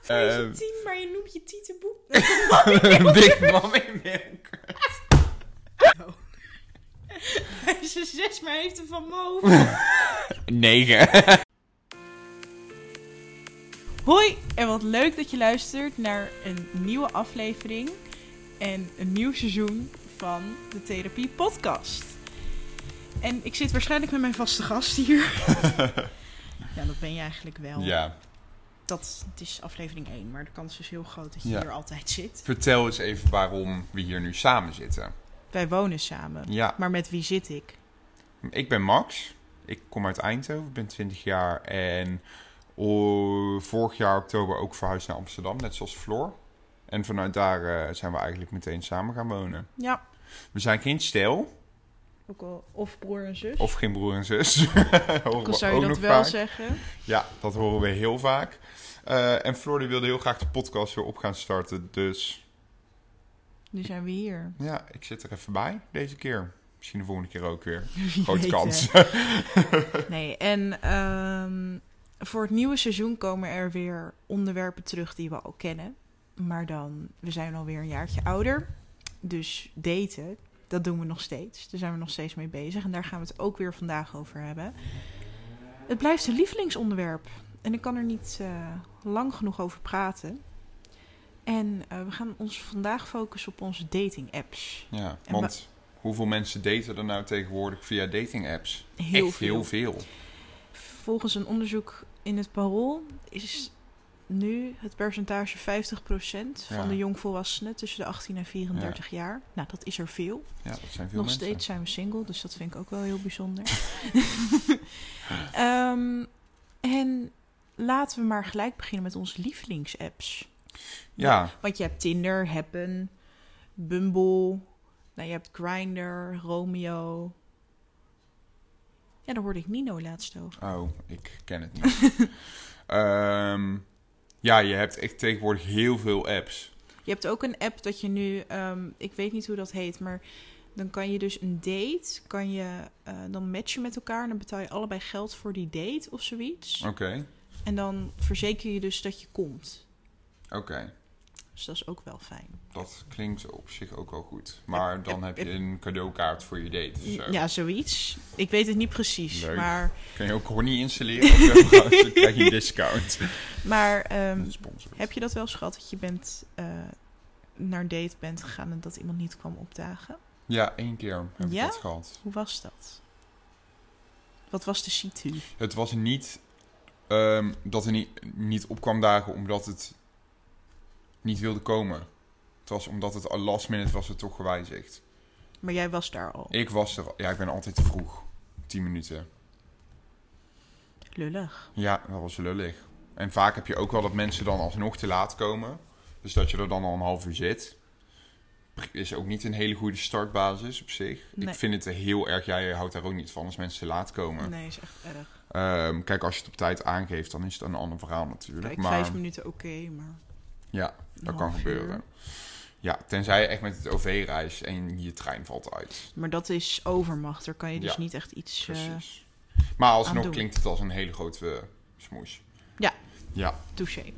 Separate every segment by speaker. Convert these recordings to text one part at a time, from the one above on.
Speaker 1: Voor je
Speaker 2: Ehm.
Speaker 1: zit tien, maar je noemt je tietenboek.
Speaker 2: Big Mommy Milk.
Speaker 1: Hij is een zes, maar hij heeft er van mogen.
Speaker 2: 9.
Speaker 1: Hoi, en wat leuk dat je luistert naar een nieuwe aflevering en een nieuw seizoen van de Therapie Podcast. En ik zit waarschijnlijk met mijn vaste gast hier. ja, dat ben je eigenlijk wel.
Speaker 2: Ja,
Speaker 1: Dat, het is aflevering 1, maar de kans is heel groot dat je
Speaker 2: Ja.
Speaker 1: hier altijd zit.
Speaker 2: vertel eens even waarom we hier nu samen zitten.
Speaker 1: Wij wonen samen.
Speaker 2: Ja,
Speaker 1: Maar met wie zit ik?
Speaker 2: ik ben Max. Ik kom uit Eindhoven, ben 20 jaar en oh, vorig jaar oktober ook verhuisd naar Amsterdam, net zoals Floor. En vanuit daar eh, zijn we eigenlijk meteen samen gaan wonen.
Speaker 1: Ja,
Speaker 2: We zijn geen stijl,
Speaker 1: ook al, of broer en zus.
Speaker 2: of geen broer en zus.
Speaker 1: ook
Speaker 2: Horen
Speaker 1: al
Speaker 2: we
Speaker 1: zou je
Speaker 2: ook
Speaker 1: dat
Speaker 2: nog
Speaker 1: wel
Speaker 2: vaak.
Speaker 1: zeggen.
Speaker 2: Ja, dat horen we heel vaak. Eh, en Floor die wilde heel graag de podcast weer op gaan starten, dus
Speaker 1: Nu zijn we hier.
Speaker 2: Ja, ik zit er even bij deze keer. Misschien de volgende keer ook weer.
Speaker 1: Wie
Speaker 2: Grote
Speaker 1: weet,
Speaker 2: kans.
Speaker 1: hè. Nee, en ehm, voor het nieuwe seizoen komen er weer onderwerpen terug die we al kennen. Maar dan, we zijn alweer een jaartje ouder. Dus daten, dat doen we nog steeds. Daar zijn we nog steeds mee bezig. En daar gaan we het ook weer vandaag over hebben. Het blijft een lievelingsonderwerp. En ik kan er niet eh, lang genoeg over praten. En eh, we gaan ons vandaag focussen op onze dating apps.
Speaker 2: Ja,
Speaker 1: En
Speaker 2: want hoeveel mensen daten er nou tegenwoordig via dating apps?
Speaker 1: Heel
Speaker 2: Echt
Speaker 1: veel.
Speaker 2: heel veel.
Speaker 1: Volgens een onderzoek in het Parool is nu het percentage 50% van
Speaker 2: Ja.
Speaker 1: de jongvolwassenen tussen de 18 en 34 jaar. Nou, dat is er veel.
Speaker 2: Ja, dat zijn veel
Speaker 1: Nog
Speaker 2: mensen.
Speaker 1: steeds zijn we single, dus dat vind ik ook wel heel bijzonder. Ehm, en laten we maar gelijk beginnen met onze lievelingsapps.
Speaker 2: Ja,
Speaker 1: Want je hebt Tinder, Happen, Bumble, nou, je hebt Grindr, Romeo. Ja, daar hoorde ik Nino laatst over.
Speaker 2: oh, ik ken het niet. Ehm, ja, je hebt echt tegenwoordig heel veel apps.
Speaker 1: Je hebt ook een app dat je nu, ehm, ik weet niet hoe dat heet, maar dan kan je dus een date, kan je eh, dan matchen met elkaar en dan betaal je allebei geld voor die date of zoiets.
Speaker 2: Oké,
Speaker 1: En dan verzeker je dus dat je komt.
Speaker 2: oké.
Speaker 1: Dus dat is ook wel fijn.
Speaker 2: Dat klinkt op zich ook wel goed. Maar dan heb je een cadeaukaart voor je date. of zo.
Speaker 1: Ja, zoiets. Ik weet het niet precies,
Speaker 2: Leuk.
Speaker 1: maar,
Speaker 2: Kun je ook Horny installeren of zo? dan krijg je een discount.
Speaker 1: maar ehm,
Speaker 2: Sponsor.
Speaker 1: heb je dat wel eens gehad dat je bent, eh, naar een date bent gegaan en dat iemand niet kwam opdagen?
Speaker 2: Ja, één keer heb
Speaker 1: Ja?
Speaker 2: ik dat gehad.
Speaker 1: Hoe was dat? Wat was de situ?
Speaker 2: Het was niet ehm, dat er niet, niet op kwam dagen omdat het niet wilde komen. Het was omdat het al last minute was het toch gewijzigd.
Speaker 1: Maar jij was daar al.
Speaker 2: Ik was er... Ja, ik ben altijd te vroeg. 10 minuten.
Speaker 1: Lullig.
Speaker 2: Ja, dat was lullig. En vaak heb je ook wel dat mensen dan alsnog te laat komen. Dus dat je er dan al een half uur zit. Is ook niet een hele goede startbasis op zich.
Speaker 1: Nee.
Speaker 2: Ik vind het heel erg... Jij houdt daar ook niet van als mensen te laat komen.
Speaker 1: Nee, is echt erg.
Speaker 2: Ehm, kijk, als je het op tijd aangeeft, dan is het een ander verhaal natuurlijk.
Speaker 1: Kijk,
Speaker 2: maar...
Speaker 1: vijf minuten oké, maar...
Speaker 2: Ja,
Speaker 1: een
Speaker 2: Dat kan
Speaker 1: half uur.
Speaker 2: gebeuren. Ja, tenzij je echt met het OV reist en je trein valt uit.
Speaker 1: Maar dat is overmacht, daar kan je dus
Speaker 2: Ja,
Speaker 1: niet echt iets... eh,
Speaker 2: Precies. Maar
Speaker 1: aan
Speaker 2: alsnog
Speaker 1: doen.
Speaker 2: klinkt het als een hele grote eh, smoes.
Speaker 1: Ja.
Speaker 2: Ja,
Speaker 1: touché.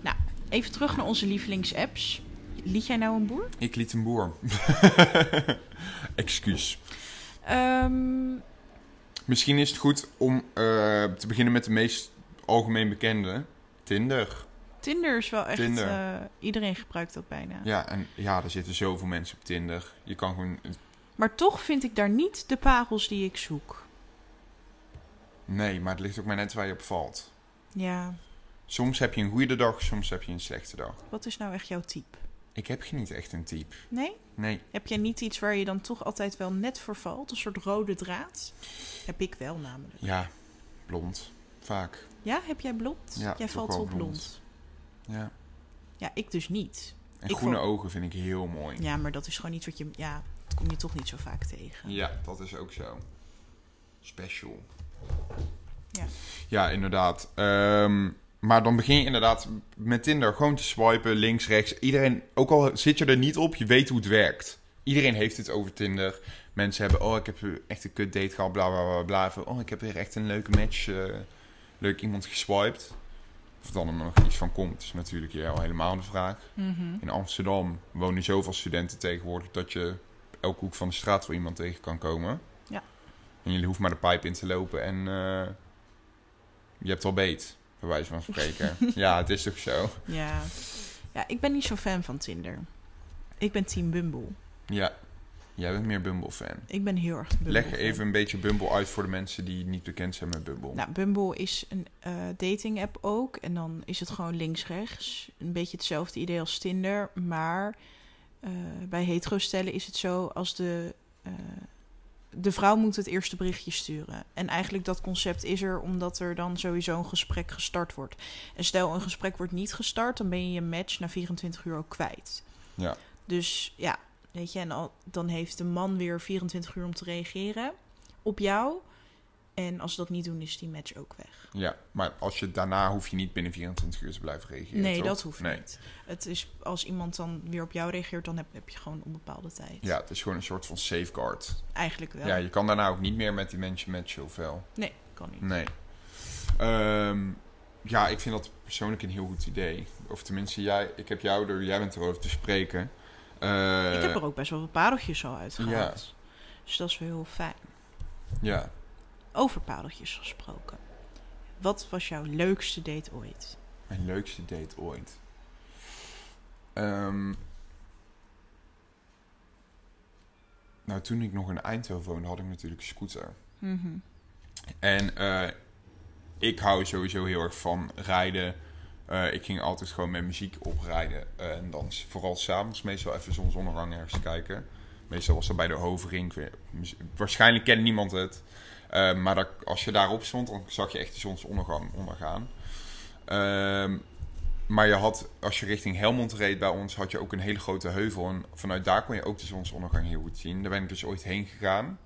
Speaker 1: Nou, even terug naar onze lievelingsapps. Liet jij nou een boer?
Speaker 2: ik liet een boer. Excuus.
Speaker 1: Ehm,
Speaker 2: Misschien is het goed om eh, te beginnen met de meest algemeen bekende. Tinder.
Speaker 1: Tinder is wel echt...
Speaker 2: Tinder.
Speaker 1: eh, iedereen gebruikt dat bijna.
Speaker 2: Ja, en ja, er zitten zoveel mensen op Tinder. Je kan gewoon... eh,
Speaker 1: Maar toch vind ik daar niet de parels die ik zoek.
Speaker 2: Nee, maar het ligt ook maar net waar je op valt.
Speaker 1: Ja,
Speaker 2: Soms heb je een goede dag, soms heb je een slechte dag.
Speaker 1: wat is nou echt jouw type?
Speaker 2: Ik heb geen niet echt een type.
Speaker 1: Nee?
Speaker 2: Nee.
Speaker 1: Heb jij niet iets waar je dan toch altijd wel net voor valt? Een soort rode draad? Heb ik wel namelijk.
Speaker 2: Ja, blond. Vaak.
Speaker 1: Ja, heb jij blond?
Speaker 2: Ja,
Speaker 1: jij
Speaker 2: toch
Speaker 1: valt
Speaker 2: wel
Speaker 1: op blond.
Speaker 2: blond. Ja.
Speaker 1: Ja, ik dus niet.
Speaker 2: En
Speaker 1: Ik
Speaker 2: groene
Speaker 1: vond-
Speaker 2: ogen vind ik heel mooi. Ja.
Speaker 1: Ja, maar dat is gewoon iets wat je... Ja, dat kom je toch niet zo vaak tegen.
Speaker 2: dat is ook zo. Special.
Speaker 1: Ja.
Speaker 2: Ja, inderdaad. Ehm, maar dan begin je inderdaad met Tinder gewoon te swipen, links, rechts. Iedereen, ook al zit je er niet op, je weet hoe het werkt. Iedereen heeft het over Tinder. Mensen hebben, oh, ik heb echt een kut date gehad, bla bla bla bla. Of, Oh, ik heb weer echt een leuke match, eh, leuk iemand geswiped. Of dan er nog iets van komt, is natuurlijk ja, al helemaal de vraag.
Speaker 1: Mhm.
Speaker 2: In Amsterdam wonen zoveel studenten tegenwoordig dat je op elke hoek van de straat wel iemand tegen kan komen.
Speaker 1: Ja.
Speaker 2: En jullie hoeven maar de pijp in te lopen en eh, je hebt al beet, bij wijze van spreken. ja, het is toch zo.
Speaker 1: Ja. ja, ik ben niet zo fan van Tinder. Ik ben team Bumble.
Speaker 2: Ja, jij bent meer Bumble-fan.
Speaker 1: Ik ben heel erg Bumble
Speaker 2: Leg even een beetje Bumble uit voor de mensen die niet bekend zijn met Bumble.
Speaker 1: Nou, Bumble is een eh dating app ook. En dan is het gewoon links-rechts. Een beetje hetzelfde idee als Tinder. Maar eh, bij hetero-stellen is het zo als de... eh, de vrouw moet het eerste berichtje sturen. En eigenlijk dat concept is er omdat er dan sowieso een gesprek gestart wordt. En stel een gesprek wordt niet gestart, dan ben je je match na 24 uur ook kwijt.
Speaker 2: Ja.
Speaker 1: Dus ja, weet je, en al, dan heeft de man weer 24 uur om te reageren op jou. En als ze dat niet doen, is die match ook weg.
Speaker 2: Ja, maar als je, daarna hoef je niet binnen 24 uur te blijven reageren.
Speaker 1: nee,
Speaker 2: toch?
Speaker 1: dat hoeft
Speaker 2: Nee.
Speaker 1: niet. Het is als iemand dan weer op jou reageert, dan heb, heb je gewoon onbepaalde tijd.
Speaker 2: Ja, het is gewoon een soort van safeguard.
Speaker 1: Eigenlijk wel.
Speaker 2: Ja, je kan daarna ook niet meer met die mensen matchen of wel.
Speaker 1: Nee, kan niet.
Speaker 2: Nee. Ehm, ja, ik vind dat persoonlijk een heel goed idee. Of tenminste, jij, ik heb jou er, jij bent erover te spreken. Eh,
Speaker 1: Ik heb er ook best wel wat pareltjes al uitgehaald. Dus dat is wel heel fijn.
Speaker 2: Ja.
Speaker 1: Over pareltjes gesproken. Wat was jouw leukste date ooit?
Speaker 2: Mijn leukste date ooit. Ehm, nou, toen ik nog in Eindhoven woonde, had ik natuurlijk een scooter.
Speaker 1: Mhm.
Speaker 2: En eh, ik hou sowieso heel erg van rijden. Eh, ik ging altijd gewoon met muziek oprijden. Eh, en dan s- vooral s'avonds meestal even zonsondergang ergens kijken. Meestal was dat bij de Hovenring. weer- mis- Waarschijnlijk kent niemand het. Eh, maar dat, als je daarop stond, dan zag je echt de zonsondergang ondergaan. Ehm, maar je had, als je richting Helmond reed bij ons, had je ook een hele grote heuvel. En vanuit daar kon je ook de zonsondergang heel goed zien. Daar ben ik dus ooit heen gegaan.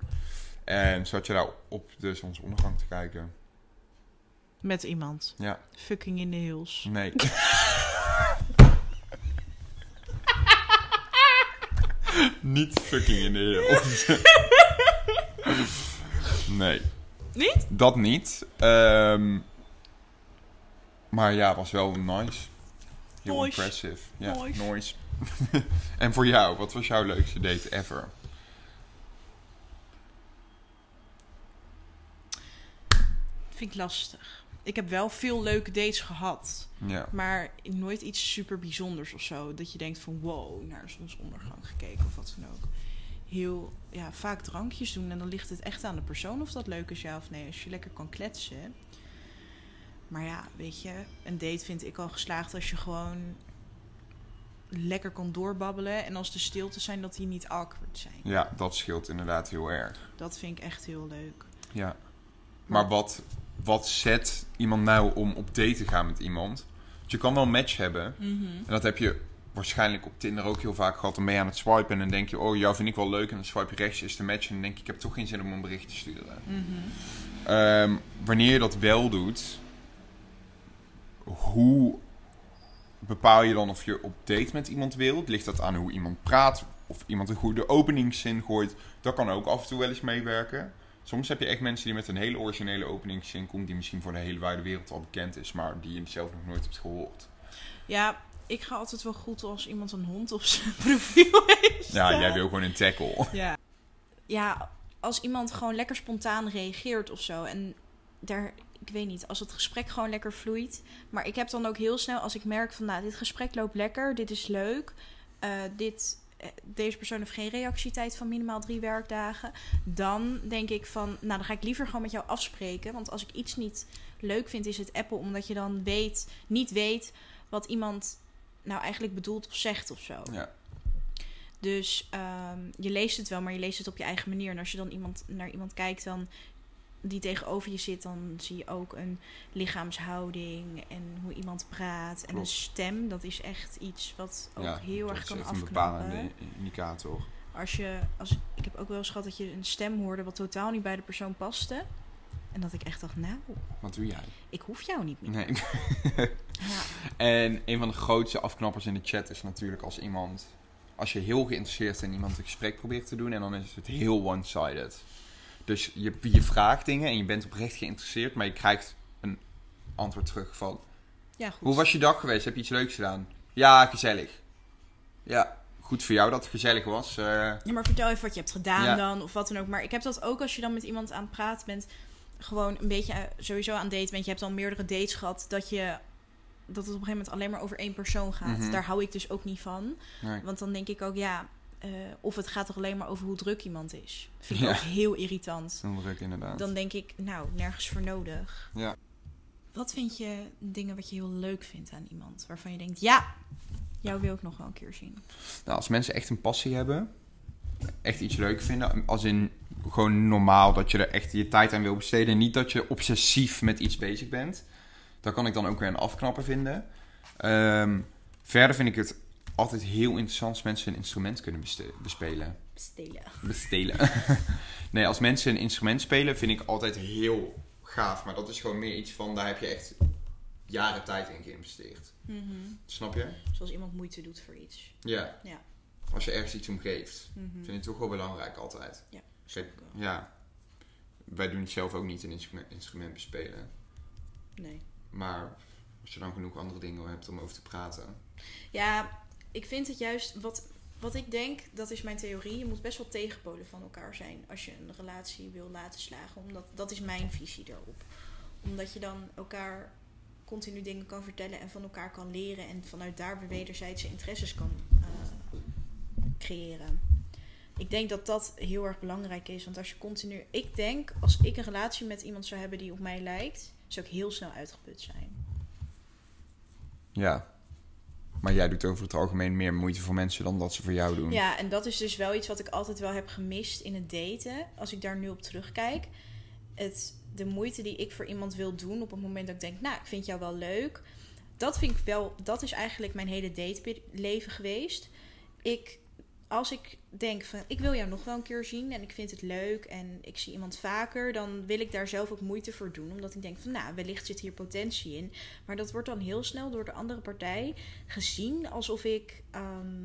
Speaker 2: En zat je daar op de zonsondergang te kijken?
Speaker 1: Met iemand.
Speaker 2: Ja.
Speaker 1: Fucking in de hills.
Speaker 2: Nee. Niet fucking in de wereld. nee.
Speaker 1: Niet?
Speaker 2: Dat niet. Ehm, maar ja, was wel nice. Heel
Speaker 1: Nice.
Speaker 2: impressive. Ja,
Speaker 1: Nice.
Speaker 2: nice. en voor jou, wat was jouw leukste date ever?
Speaker 1: Vind ik lastig. Ik heb wel veel leuke dates gehad.
Speaker 2: Ja.
Speaker 1: Maar nooit iets super bijzonders of zo. Dat je denkt van wow, naar een zonsondergang gekeken of wat dan ook. Heel ja, vaak drankjes doen. En dan ligt het echt aan de persoon of dat leuk is, ja of nee. Als je lekker kan kletsen. Maar ja, weet je, een date vind ik al geslaagd als je gewoon lekker kan doorbabbelen. En als de stilte zijn, dat die niet awkward zijn.
Speaker 2: ja, dat scheelt inderdaad heel erg.
Speaker 1: Dat vind ik echt heel leuk.
Speaker 2: Ja. Maar wat, wat zet iemand nou om op date te gaan met iemand? Want je kan wel een match hebben. En dat heb je waarschijnlijk op Tinder ook heel vaak gehad. Dan ben je aan het swipen en dan denk je... oh, jou vind ik wel leuk. En dan swipe je rechts, is de match. En dan denk je, ik heb toch geen zin om een bericht te sturen. Ehm, wanneer je dat wel doet... hoe bepaal je dan of je op date met iemand wilt? Ligt dat aan hoe iemand praat? Of iemand een goede openingszin gooit? Dat kan ook af en toe wel eens meewerken. Soms heb je echt mensen die met een hele originele openingszin komt... die misschien voor de hele wijde wereld al bekend is... maar die je zelf nog nooit hebt gehoord.
Speaker 1: Ja, ik ga altijd wel goed als iemand een hond op zijn profiel heeft.
Speaker 2: Ja,
Speaker 1: staan.
Speaker 2: jij wil gewoon een tackle.
Speaker 1: Ja. ja, als iemand gewoon lekker spontaan reageert of zo. En daar, ik weet niet, als het gesprek gewoon lekker vloeit. Maar ik heb dan ook heel snel, als ik merk van, nou, dit gesprek loopt lekker, dit is leuk. eh, dit, eh, deze persoon heeft geen reactietijd van minimaal drie werkdagen. Dan denk ik van, nou, dan ga ik liever gewoon met jou afspreken. Want als ik iets niet leuk vind, is het Apple. Omdat je dan weet, niet weet wat iemand nou eigenlijk bedoelt of zegt of zo.
Speaker 2: Ja.
Speaker 1: Dus ehm, je leest het wel, maar je leest het op je eigen manier. En als je dan iemand, naar iemand kijkt dan, die tegenover je zit, dan zie je ook een lichaamshouding en hoe iemand praat. En een
Speaker 2: Klopt.
Speaker 1: stem, dat is echt iets wat ook
Speaker 2: ja,
Speaker 1: heel
Speaker 2: dat
Speaker 1: erg
Speaker 2: is
Speaker 1: kan
Speaker 2: echt een bepalende
Speaker 1: afknappen.
Speaker 2: indicator.
Speaker 1: Als je, als, ik heb ook wel eens gehad dat je een stem hoorde wat totaal niet bij de persoon paste. En dat ik echt dacht, nou,
Speaker 2: Wat doe jij?
Speaker 1: ik hoef jou niet meer.
Speaker 2: Nee.
Speaker 1: Ja.
Speaker 2: En een van de grootste afknappers in de chat is natuurlijk als iemand... Als je heel geïnteresseerd in iemand een gesprek probeert te doen... en dan is het heel one-sided. Dus je, je vraagt dingen en je bent oprecht geïnteresseerd... maar je krijgt een antwoord terug van...
Speaker 3: Ja, goed.
Speaker 2: Hoe was je dag geweest? Heb je iets leuks gedaan? Ja, gezellig. Ja, goed voor jou dat het gezellig was. Eh,
Speaker 3: Ja, maar vertel even wat je hebt gedaan
Speaker 2: Ja.
Speaker 3: dan, of wat dan ook. Maar ik heb dat ook als je dan met iemand aan het praten bent, gewoon een beetje eh, sowieso aan date bent. Je hebt al meerdere dates gehad, dat je dat het op een gegeven moment alleen maar over één persoon gaat.
Speaker 2: Mhm.
Speaker 3: Daar hou ik dus ook niet van.
Speaker 2: nee.
Speaker 3: Want dan denk ik ook, ja, eh, of het gaat toch alleen maar over hoe druk iemand is. Vind ik
Speaker 2: Ja.
Speaker 3: ook heel irritant.
Speaker 2: Dan druk inderdaad.
Speaker 3: Dan denk ik, nou, nergens voor nodig.
Speaker 2: Ja.
Speaker 3: Wat vind je dingen wat je heel leuk vindt aan iemand? Waarvan je denkt, ja, jou wil ik nog wel een keer zien.
Speaker 2: Nou, als mensen echt een passie hebben, echt iets leuk vinden, als in gewoon normaal dat je er echt je tijd aan wil besteden, niet dat je obsessief met iets bezig bent, daar kan ik dan ook weer een afknapper vinden. Ehm, verder vind ik het altijd heel interessant als mensen een instrument kunnen beste- bespelen.
Speaker 3: Stelen.
Speaker 2: Bestelen. nee, als mensen een instrument spelen vind ik altijd heel gaaf, maar dat is gewoon meer iets van daar heb je echt jaren tijd in geïnvesteerd.
Speaker 3: Mhm.
Speaker 2: Snap je?
Speaker 3: Zoals iemand moeite doet voor iets.
Speaker 2: Ja.
Speaker 3: Ja.
Speaker 2: Als je ergens iets om geeft.
Speaker 3: Mhm.
Speaker 2: Vind ik toch wel belangrijk altijd.
Speaker 3: Ja,
Speaker 2: Kijk, ja. Wij doen het zelf ook niet een instrument, instrument bespelen.
Speaker 3: Nee.
Speaker 2: Maar als je dan genoeg andere dingen hebt om over te praten.
Speaker 3: Ja, ik vind het juist wat, wat ik denk, dat is mijn theorie. Je moet best wel tegenpolen van elkaar zijn als je een relatie wil laten slagen. Omdat dat is mijn visie daarop. Omdat je dan elkaar continu dingen kan vertellen en van elkaar kan leren en vanuit daar weer wederzijdse interesses kan eh, creëren. Ik denk dat dat heel erg belangrijk is. Want als je continu. Ik denk, als ik een relatie met iemand zou hebben die op mij lijkt, zou ik heel snel uitgeput zijn.
Speaker 2: Ja. Maar jij doet over het algemeen meer moeite voor mensen dan dat ze voor jou doen.
Speaker 3: Ja, en dat is dus wel iets wat ik altijd wel heb gemist in het daten. Als ik daar nu op terugkijk. Het, de moeite die ik voor iemand wil doen op het moment dat ik denk, nou, ik vind jou wel leuk. Dat vind ik wel, dat is eigenlijk mijn hele dateleven geweest. Ik, als ik denk van, ik wil jou nog wel een keer zien en ik vind het leuk en ik zie iemand vaker, dan wil ik daar zelf ook moeite voor doen. Omdat ik denk van, nou, wellicht zit hier potentie in. Maar dat wordt dan heel snel door de andere partij gezien alsof ik. ehm,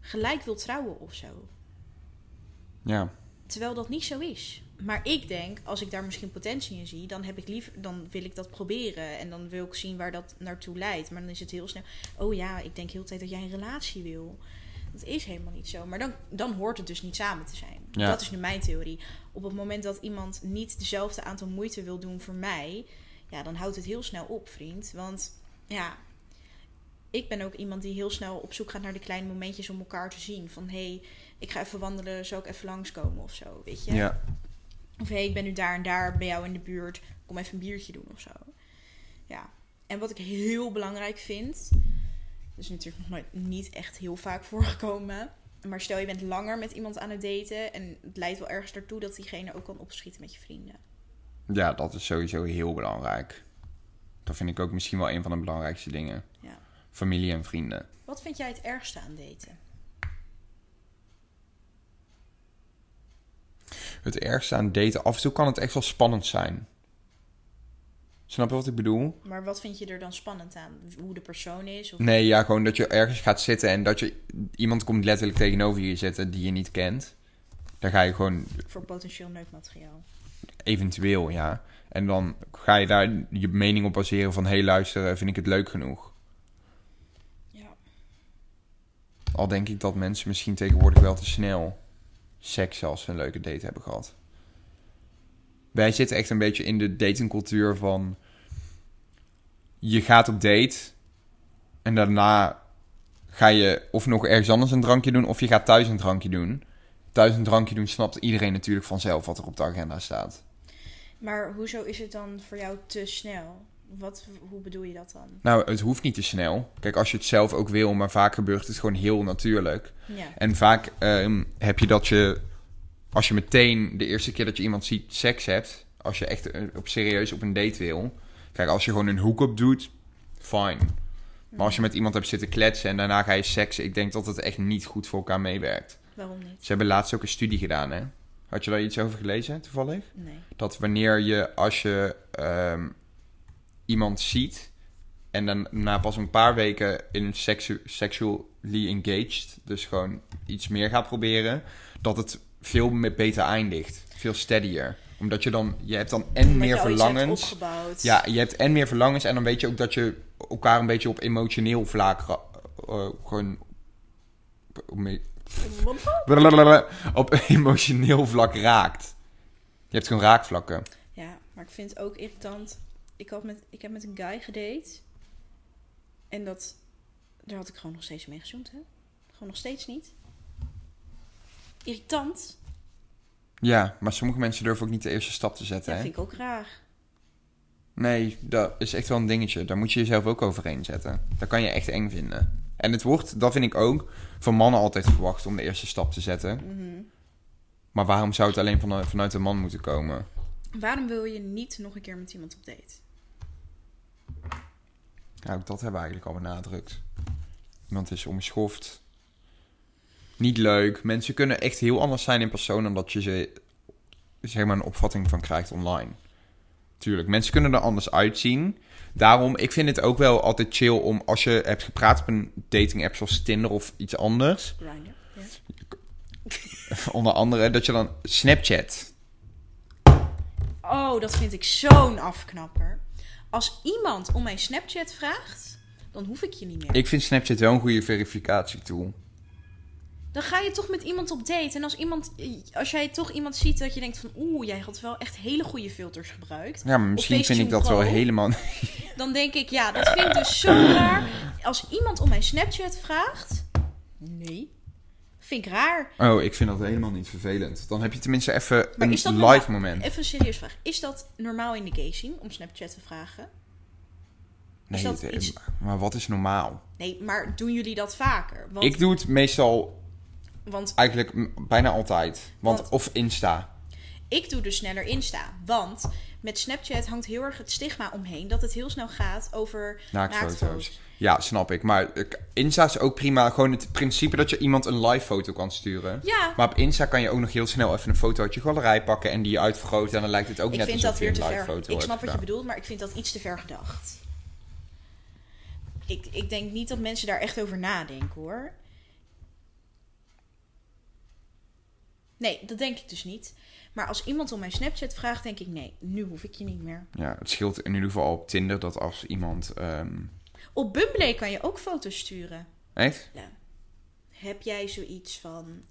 Speaker 3: gelijk wil trouwen of zo.
Speaker 2: Ja.
Speaker 3: Terwijl dat niet zo is. Maar ik denk, als ik daar misschien potentie in zie, dan, heb ik liever, dan wil ik dat proberen. En dan wil ik zien waar dat naartoe leidt. Maar dan is het heel snel. Oh ja, ik denk heel de tijd dat jij een relatie wil. Dat is helemaal niet zo. Maar dan, dan hoort het dus niet samen te zijn.
Speaker 2: Ja.
Speaker 3: Dat is nu mijn theorie. Op het moment dat iemand niet dezelfde aantal moeite wil doen voor mij, ja, dan houdt het heel snel op, vriend. Want ja, ik ben ook iemand die heel snel op zoek gaat naar de kleine momentjes om elkaar te zien. Van hé, hey, ik ga even wandelen, zou ik even langskomen of zo, weet je?
Speaker 2: Ja.
Speaker 3: Of hé, hey, ik ben nu daar en daar bij jou in de buurt, kom even een biertje doen of zo. Ja, en wat ik heel belangrijk vind, dat is natuurlijk nog nooit niet echt heel vaak voorgekomen. Maar stel je bent langer met iemand aan het daten en het leidt wel ergens naartoe dat diegene ook kan opschieten met je vrienden.
Speaker 2: Ja, dat is sowieso heel belangrijk. Dat vind ik ook misschien wel een van de belangrijkste dingen.
Speaker 3: Ja.
Speaker 2: Familie en vrienden.
Speaker 3: Wat vind jij het ergste aan daten?
Speaker 2: Het ergste aan daten, af en toe kan het echt wel spannend zijn. Snap je wat ik bedoel?
Speaker 3: Maar wat vind je er dan spannend aan? Hoe de persoon is? Of...
Speaker 2: Nee, ja, gewoon dat je ergens gaat zitten en dat je iemand komt letterlijk tegenover je zitten die je niet kent. Dan ga je gewoon
Speaker 3: voor potentieel neukmateriaal.
Speaker 2: eventueel, ja. En dan ga je daar je mening op baseren van, hé hey, luister, eh, vind ik het leuk genoeg?
Speaker 3: Ja.
Speaker 2: Al denk ik dat mensen misschien tegenwoordig wel te snel seks als ze een leuke date hebben gehad. Wij zitten echt een beetje in de datingcultuur van... Je gaat op date en daarna ga je of nog ergens anders een drankje doen... of je gaat thuis een drankje doen. Thuis een drankje doen snapt iedereen natuurlijk vanzelf wat er op de agenda staat.
Speaker 3: Maar hoezo is het dan voor jou te snel? Wat, hoe bedoel je dat dan?
Speaker 2: Nou, het hoeft niet te snel. Kijk, als je het zelf ook wil, maar vaak gebeurt het gewoon heel natuurlijk.
Speaker 3: Ja.
Speaker 2: En vaak ehm, heb je dat je, als je meteen de eerste keer dat je iemand ziet seks hebt, als je echt eh, op serieus op een date wil. Kijk, als je gewoon een hook-up doet, fine. Maar als je met iemand hebt zitten kletsen en daarna ga je seksen, ik denk dat het echt niet goed voor elkaar meewerkt.
Speaker 3: Waarom niet?
Speaker 2: Ze hebben laatst ook een studie gedaan, hè? Had je daar iets over gelezen, toevallig?
Speaker 3: Nee.
Speaker 2: dat wanneer je als je ehm, iemand ziet en dan na pas een paar weken in seksu- sexually engaged, dus gewoon iets meer gaat proberen, dat het veel me- beter eindigt, veel steadier. Omdat je dan, je hebt dan en meer verlangens.
Speaker 1: opgebouwd.
Speaker 2: Ja, je hebt en meer verlangens en dan weet je ook dat je elkaar een beetje op emotioneel vlak ra- eh, gewoon op- op me- op emotioneel vlak raakt. Je hebt gewoon raakvlakken.
Speaker 3: Ja, maar ik vind het ook irritant. Ik, had met, ik heb met een guy gedate. En dat... Daar had ik gewoon nog steeds mee gezoend, hè? Gewoon nog steeds niet. Irritant.
Speaker 2: Ja, maar sommige mensen durven ook niet de eerste stap te zetten.
Speaker 3: Dat
Speaker 2: hè?
Speaker 3: vind ik ook raar.
Speaker 2: Nee, dat is echt wel een dingetje. Daar moet je jezelf ook overheen zetten. Dat kan je echt eng vinden. En het wordt, dat vind ik ook, van mannen altijd verwacht om de eerste stap te zetten.
Speaker 3: Mhm.
Speaker 2: Maar waarom zou het alleen van, vanuit een man moeten komen?
Speaker 3: Waarom wil je niet nog een keer met iemand op date?
Speaker 2: Ja, ook dat hebben we eigenlijk al benadrukt. Iemand is omschoft. Niet leuk. Mensen kunnen echt heel anders zijn in persoon dan dat je ze, zeg maar, een opvatting van krijgt online. Tuurlijk, mensen kunnen er anders uitzien. Daarom, ik vind het ook wel altijd chill om als je hebt gepraat op een dating app zoals Tinder of iets anders.
Speaker 3: Grindr. Ja.
Speaker 2: Onder andere dat je dan Snapchat.
Speaker 3: Oh, dat vind ik zo'n afknapper. Als iemand om mijn Snapchat vraagt, dan hoef ik je niet meer.
Speaker 2: Ik vind Snapchat wel een goede verificatietool.
Speaker 3: Dan ga je toch met iemand op date. En als, iemand, als jij toch iemand ziet dat je denkt van... Oeh, jij had wel echt hele goede filters gebruikt.
Speaker 2: Ja, maar misschien vind ik
Speaker 3: FaceTune
Speaker 2: dat wel
Speaker 3: Pro.
Speaker 2: helemaal.
Speaker 3: Dan denk ik, ja, dat vind ik dus zo raar. Als iemand om mijn Snapchat vraagt... Nee. Vind ik raar.
Speaker 2: Oh, ik vind dat helemaal niet vervelend. Dan heb je tenminste even
Speaker 3: Maar
Speaker 2: een
Speaker 3: is dat
Speaker 2: live
Speaker 3: normaal?
Speaker 2: moment.
Speaker 3: Even een serieus vraag. Is dat normaal in de gay scene om Snapchat te vragen?
Speaker 2: Nee,
Speaker 3: dat
Speaker 2: het-
Speaker 3: iets-
Speaker 2: maar wat is normaal?
Speaker 3: Nee, maar doen jullie dat vaker? Want,
Speaker 2: Ik doe het meestal
Speaker 3: want
Speaker 2: eigenlijk m- bijna altijd. Want,
Speaker 3: Want-
Speaker 2: of Insta.
Speaker 3: Ik doe dus sneller Insta. Want met Snapchat hangt heel erg het stigma omheen dat het heel snel gaat over
Speaker 2: Naaktfoto's.
Speaker 3: naaktfoto's.
Speaker 2: Ja, snap ik. Maar ik- Insta is ook prima. Gewoon het principe dat je iemand een live foto kan sturen.
Speaker 3: Ja,
Speaker 2: Maar op Insta kan je ook nog heel snel even een foto uit je galerij pakken en die uitvergroten. En dan lijkt het dus ook
Speaker 3: ik
Speaker 2: net
Speaker 3: vind
Speaker 2: alsof
Speaker 3: dat
Speaker 2: je
Speaker 3: weer
Speaker 2: een
Speaker 3: te
Speaker 2: live
Speaker 3: ver.
Speaker 2: foto
Speaker 3: Ik
Speaker 2: hebt
Speaker 3: snap wat je
Speaker 2: gedaan.
Speaker 3: bedoelt, maar ik vind dat iets te ver gedacht. Ik, ik denk niet dat mensen daar echt over nadenken hoor. Nee, dat denk ik dus niet. Maar als iemand om mijn Snapchat vraagt, denk ik nee, nu hoef ik je niet meer.
Speaker 2: Ja, het scheelt in ieder geval op Tinder dat als iemand... ehm,
Speaker 3: Op Bumble kan je ook foto's sturen.
Speaker 2: echt?
Speaker 3: Ja. Heb jij zoiets van,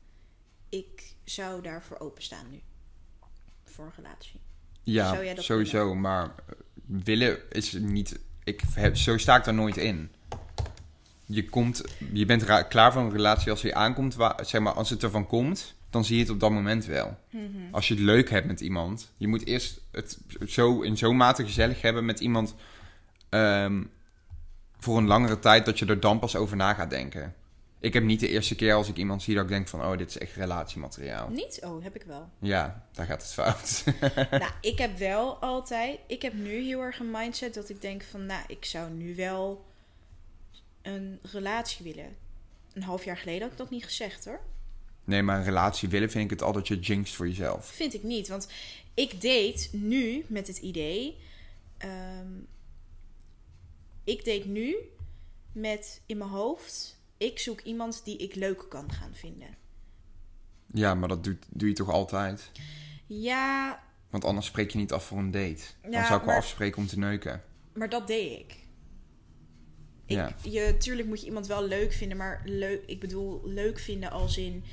Speaker 3: ik zou daarvoor openstaan nu? Voor een relatie.
Speaker 2: Ja,
Speaker 3: Zou jij dat
Speaker 2: sowieso. Maar eh, willen is niet. Ik heb, zo sta ik daar nooit in. Je, komt, je bent ra- klaar voor een relatie als je aankomt. wa- zeg maar, als het ervan komt, dan zie je het op dat moment wel.
Speaker 3: Mhm.
Speaker 2: Als je het leuk hebt met iemand. Je moet eerst het zo, in zo'n mate gezellig hebben met iemand. ehm, voor een langere tijd dat je er dan pas over na gaat denken. Ik heb niet de eerste keer als ik iemand zie dat ik denk van... oh, dit is echt relatiemateriaal.
Speaker 3: Niet? Oh, heb ik wel.
Speaker 2: Ja, daar gaat het fout.
Speaker 3: nou, ik heb wel altijd, ik heb nu heel erg een mindset dat ik denk van, nou, ik zou nu wel een relatie willen. Een half jaar geleden had ik dat niet gezegd hoor.
Speaker 2: Nee, maar een relatie willen vind ik het altijd je jinxt voor jezelf.
Speaker 3: Vind ik niet, want ik date nu met het idee. ehm, ik date nu met in mijn hoofd. Ik zoek iemand die ik leuk kan gaan vinden.
Speaker 2: Ja, maar dat doe, doe je toch altijd?
Speaker 3: Ja,
Speaker 2: Want anders spreek je niet af voor een date. Dan
Speaker 3: Ja,
Speaker 2: zou ik wel
Speaker 3: maar-
Speaker 2: afspreken om te neuken.
Speaker 3: maar dat deed ik. Ik,
Speaker 2: Ja.
Speaker 3: je, tuurlijk moet je iemand wel leuk vinden, maar leuk, ik bedoel leuk vinden als in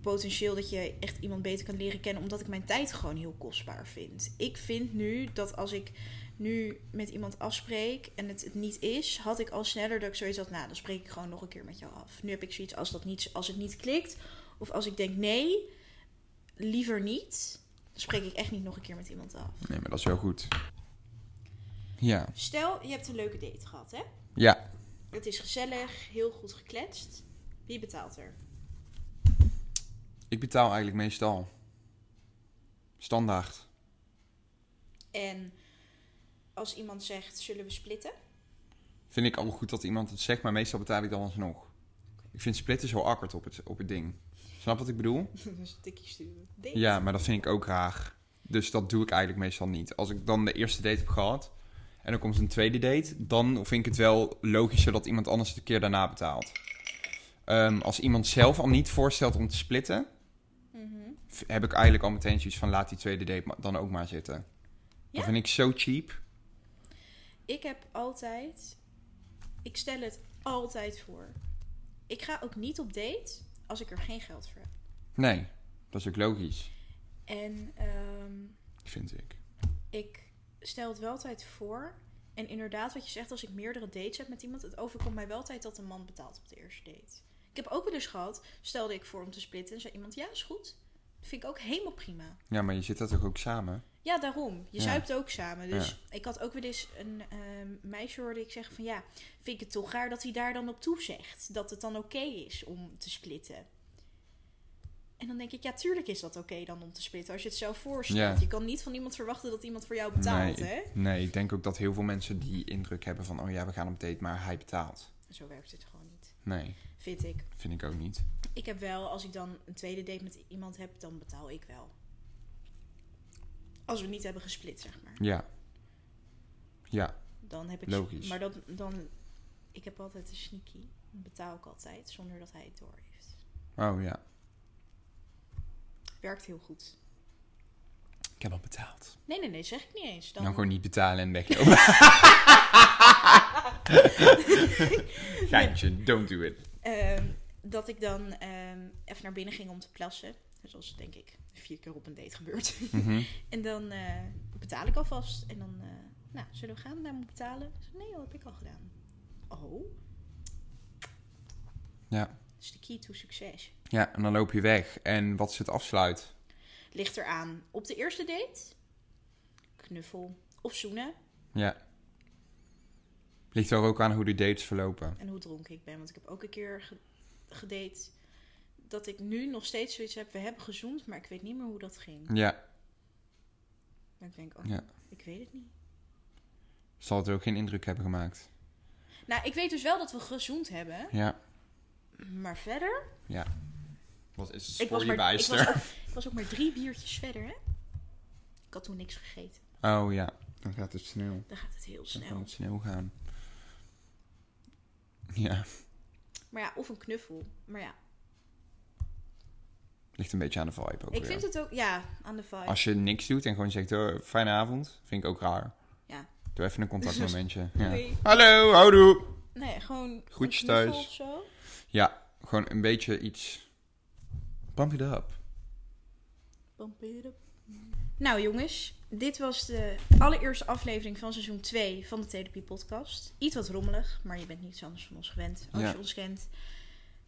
Speaker 3: potentieel dat je echt iemand beter kan leren kennen, omdat ik mijn tijd gewoon heel kostbaar vind. Ik vind nu dat als ik nu met iemand afspreek en het, het niet is, had ik al sneller dat ik zoiets had, nou dan spreek ik gewoon nog een keer met jou af. Nu heb ik zoiets als, dat niet, als het niet klikt, of als ik denk nee, liever niet, dan spreek ik echt niet nog een keer met iemand af.
Speaker 2: Nee, maar dat is wel goed. Ja.
Speaker 3: Stel, je hebt een leuke date gehad, hè?
Speaker 2: Ja.
Speaker 3: Het is gezellig, heel goed gekletst. Wie betaalt er?
Speaker 2: Ik betaal eigenlijk meestal. Standaard.
Speaker 3: En als iemand zegt, zullen we splitten?
Speaker 2: Vind ik al goed dat iemand het zegt, maar meestal betaal ik dan alsnog. Ik vind splitten zo akkerd op het, op het ding. Snap wat ik bedoel?
Speaker 3: Dus een tikje sturen. Date.
Speaker 2: Ja, maar dat vind ik ook raar. Dus dat doe ik eigenlijk meestal niet. Als ik dan de eerste date heb gehad en er komt een tweede date, dan vind ik het wel logischer dat iemand anders de keer daarna
Speaker 3: Mhm.
Speaker 2: betaalt. Ehm, als iemand zelf al niet voorstelt om te splitten, v- heb ik eigenlijk al meteen zoiets van laat die tweede date ma- dan ook maar zitten.
Speaker 3: Ja.
Speaker 2: Dat vind ik zo cheap.
Speaker 3: Ik heb altijd. Ik stel het altijd voor. Ik ga ook niet op date als ik er geen geld voor heb.
Speaker 2: Nee, dat is ook logisch,
Speaker 3: En ehm,
Speaker 2: vind ik.
Speaker 3: ik stel het wel altijd voor. En inderdaad, wat je zegt, als ik meerdere dates heb met iemand, het overkomt mij wel altijd dat een man betaalt op de eerste date. Ik heb ook wel eens gehad, stelde ik voor om te splitten en zei iemand, ja, is goed. Dat vind ik ook helemaal prima.
Speaker 2: Ja, maar je zit dat toch ook samen?
Speaker 3: Ja, daarom. Je
Speaker 2: Ja.
Speaker 3: zuipt ook samen. Dus ik had ook weer eens een ehm, meisje hoorde ik zeggen van ja, vind ik het toch raar dat hij daar dan op toezegt. Dat het dan oké is om te splitten. En dan denk ik, ja, tuurlijk is dat oké dan om te splitten als je het zelf voorstelt.
Speaker 2: Ja.
Speaker 3: Je kan niet van iemand verwachten dat iemand voor jou betaalt,
Speaker 2: nee,
Speaker 3: hè?
Speaker 2: ik- nee, ik denk ook dat heel veel mensen die indruk hebben van oh ja, we gaan op date, maar hij betaalt.
Speaker 3: Zo werkt het gewoon niet,
Speaker 2: Nee,
Speaker 3: vind ik.
Speaker 2: vind ik ook niet.
Speaker 3: Ik heb wel, als ik dan een tweede date met iemand heb, dan betaal ik wel. Als we niet hebben gesplit, zeg maar.
Speaker 2: Ja. Ja,
Speaker 3: Dan heb ik
Speaker 2: Logisch.
Speaker 3: Maar dat, dan, ik heb altijd een sneaky. Dat betaal ik altijd, zonder dat hij het door heeft.
Speaker 2: oh ja.
Speaker 3: Werkt heel goed.
Speaker 2: Ik heb al betaald.
Speaker 3: Nee, nee, nee, zeg ik niet eens. Dan,
Speaker 2: Dan Nou, gewoon niet betalen en weglopen. Geintje, don't do it.
Speaker 3: Ehm, dat ik dan ehm, even naar binnen ging om te plassen. Zoals denk ik vier keer op een date gebeurt.
Speaker 2: Mhm.
Speaker 3: en dan eh, betaal ik alvast. En dan, eh, nou, zullen we gaan? Daar moet ik betalen. Ik zei, nee, dat heb ik al gedaan. Oh,
Speaker 2: Ja.
Speaker 3: dat is de key to succes.
Speaker 2: ja, en dan loop je weg. En wat is het afsluit?
Speaker 3: Ligt eraan. Op de eerste date? Knuffel. Of zoenen.
Speaker 2: Ja. Ligt er ook aan hoe de dates verlopen.
Speaker 3: en hoe dronken ik ben. Want ik heb ook een keer ge- gedate dat ik nu nog steeds zoiets heb. We hebben gezoend, maar ik weet niet meer hoe dat ging.
Speaker 2: Ja,
Speaker 3: En ik denk, oh,
Speaker 2: Ja.
Speaker 3: ik weet het niet.
Speaker 2: zal het ook geen indruk hebben gemaakt.
Speaker 3: Nou, ik weet dus wel dat we gezoend hebben,
Speaker 2: Ja.
Speaker 3: maar verder...
Speaker 2: Wat is het
Speaker 3: Ik was,
Speaker 2: voor je
Speaker 3: maar, ik, was
Speaker 2: bijster?
Speaker 3: ook, ik was ook maar drie biertjes verder, hè. Ik had toen niks gegeten.
Speaker 2: Oh ja, dan gaat het sneeuw.
Speaker 3: Dan gaat het heel
Speaker 2: Dan kan
Speaker 3: snel.
Speaker 2: het sneeuw gaan. Ja,
Speaker 3: Maar ja, of een knuffel. Maar ja,
Speaker 2: ligt een beetje aan de vibe ook
Speaker 3: ik
Speaker 2: weer.
Speaker 3: vind het ook... Ja, aan de vibe.
Speaker 2: Als je niks doet en gewoon zegt, oh, fijne avond, vind ik ook raar.
Speaker 3: Ja.
Speaker 2: Doe even een contactmomentje. Ja.
Speaker 3: Doei.
Speaker 2: Hallo, houdoe.
Speaker 3: Nee, gewoon
Speaker 2: Groetjes
Speaker 3: een knuffel
Speaker 2: thuis.
Speaker 3: of zo.
Speaker 2: Ja, gewoon een beetje iets... Pump it up.
Speaker 3: Pamperen. Nou jongens, dit was de allereerste aflevering van seizoen 2 van de Therapie Podcast. Iets wat rommelig, maar je bent niets anders van ons gewend als
Speaker 2: Ja.
Speaker 3: je ons kent.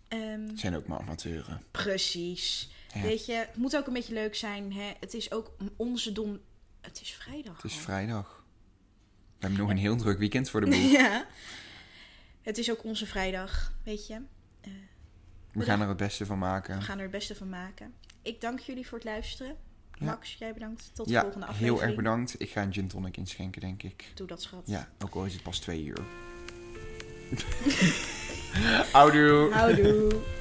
Speaker 3: Ehm,
Speaker 2: Het zijn ook maar amateuren.
Speaker 3: precies.
Speaker 2: Ja.
Speaker 3: Weet je, het moet ook een beetje leuk zijn. Hè? Het is ook onze dom... Het is vrijdag
Speaker 2: Het is
Speaker 3: al.
Speaker 2: vrijdag. We hebben nog een heel druk weekend voor de boeg.
Speaker 3: ja. Het is ook onze vrijdag, weet je.
Speaker 2: We gaan er het beste van maken.
Speaker 3: We gaan er het beste van maken. Ik dank jullie voor het luisteren.
Speaker 2: Ja.
Speaker 3: Max, jij bedankt. Tot de
Speaker 2: Ja,
Speaker 3: volgende aflevering.
Speaker 2: heel erg bedankt. Ik ga een gin tonic inschenken, denk ik.
Speaker 3: Doe dat, schat.
Speaker 2: Ja, ook al is het pas twee uur. Houdoe.
Speaker 3: Nou, Houdoe.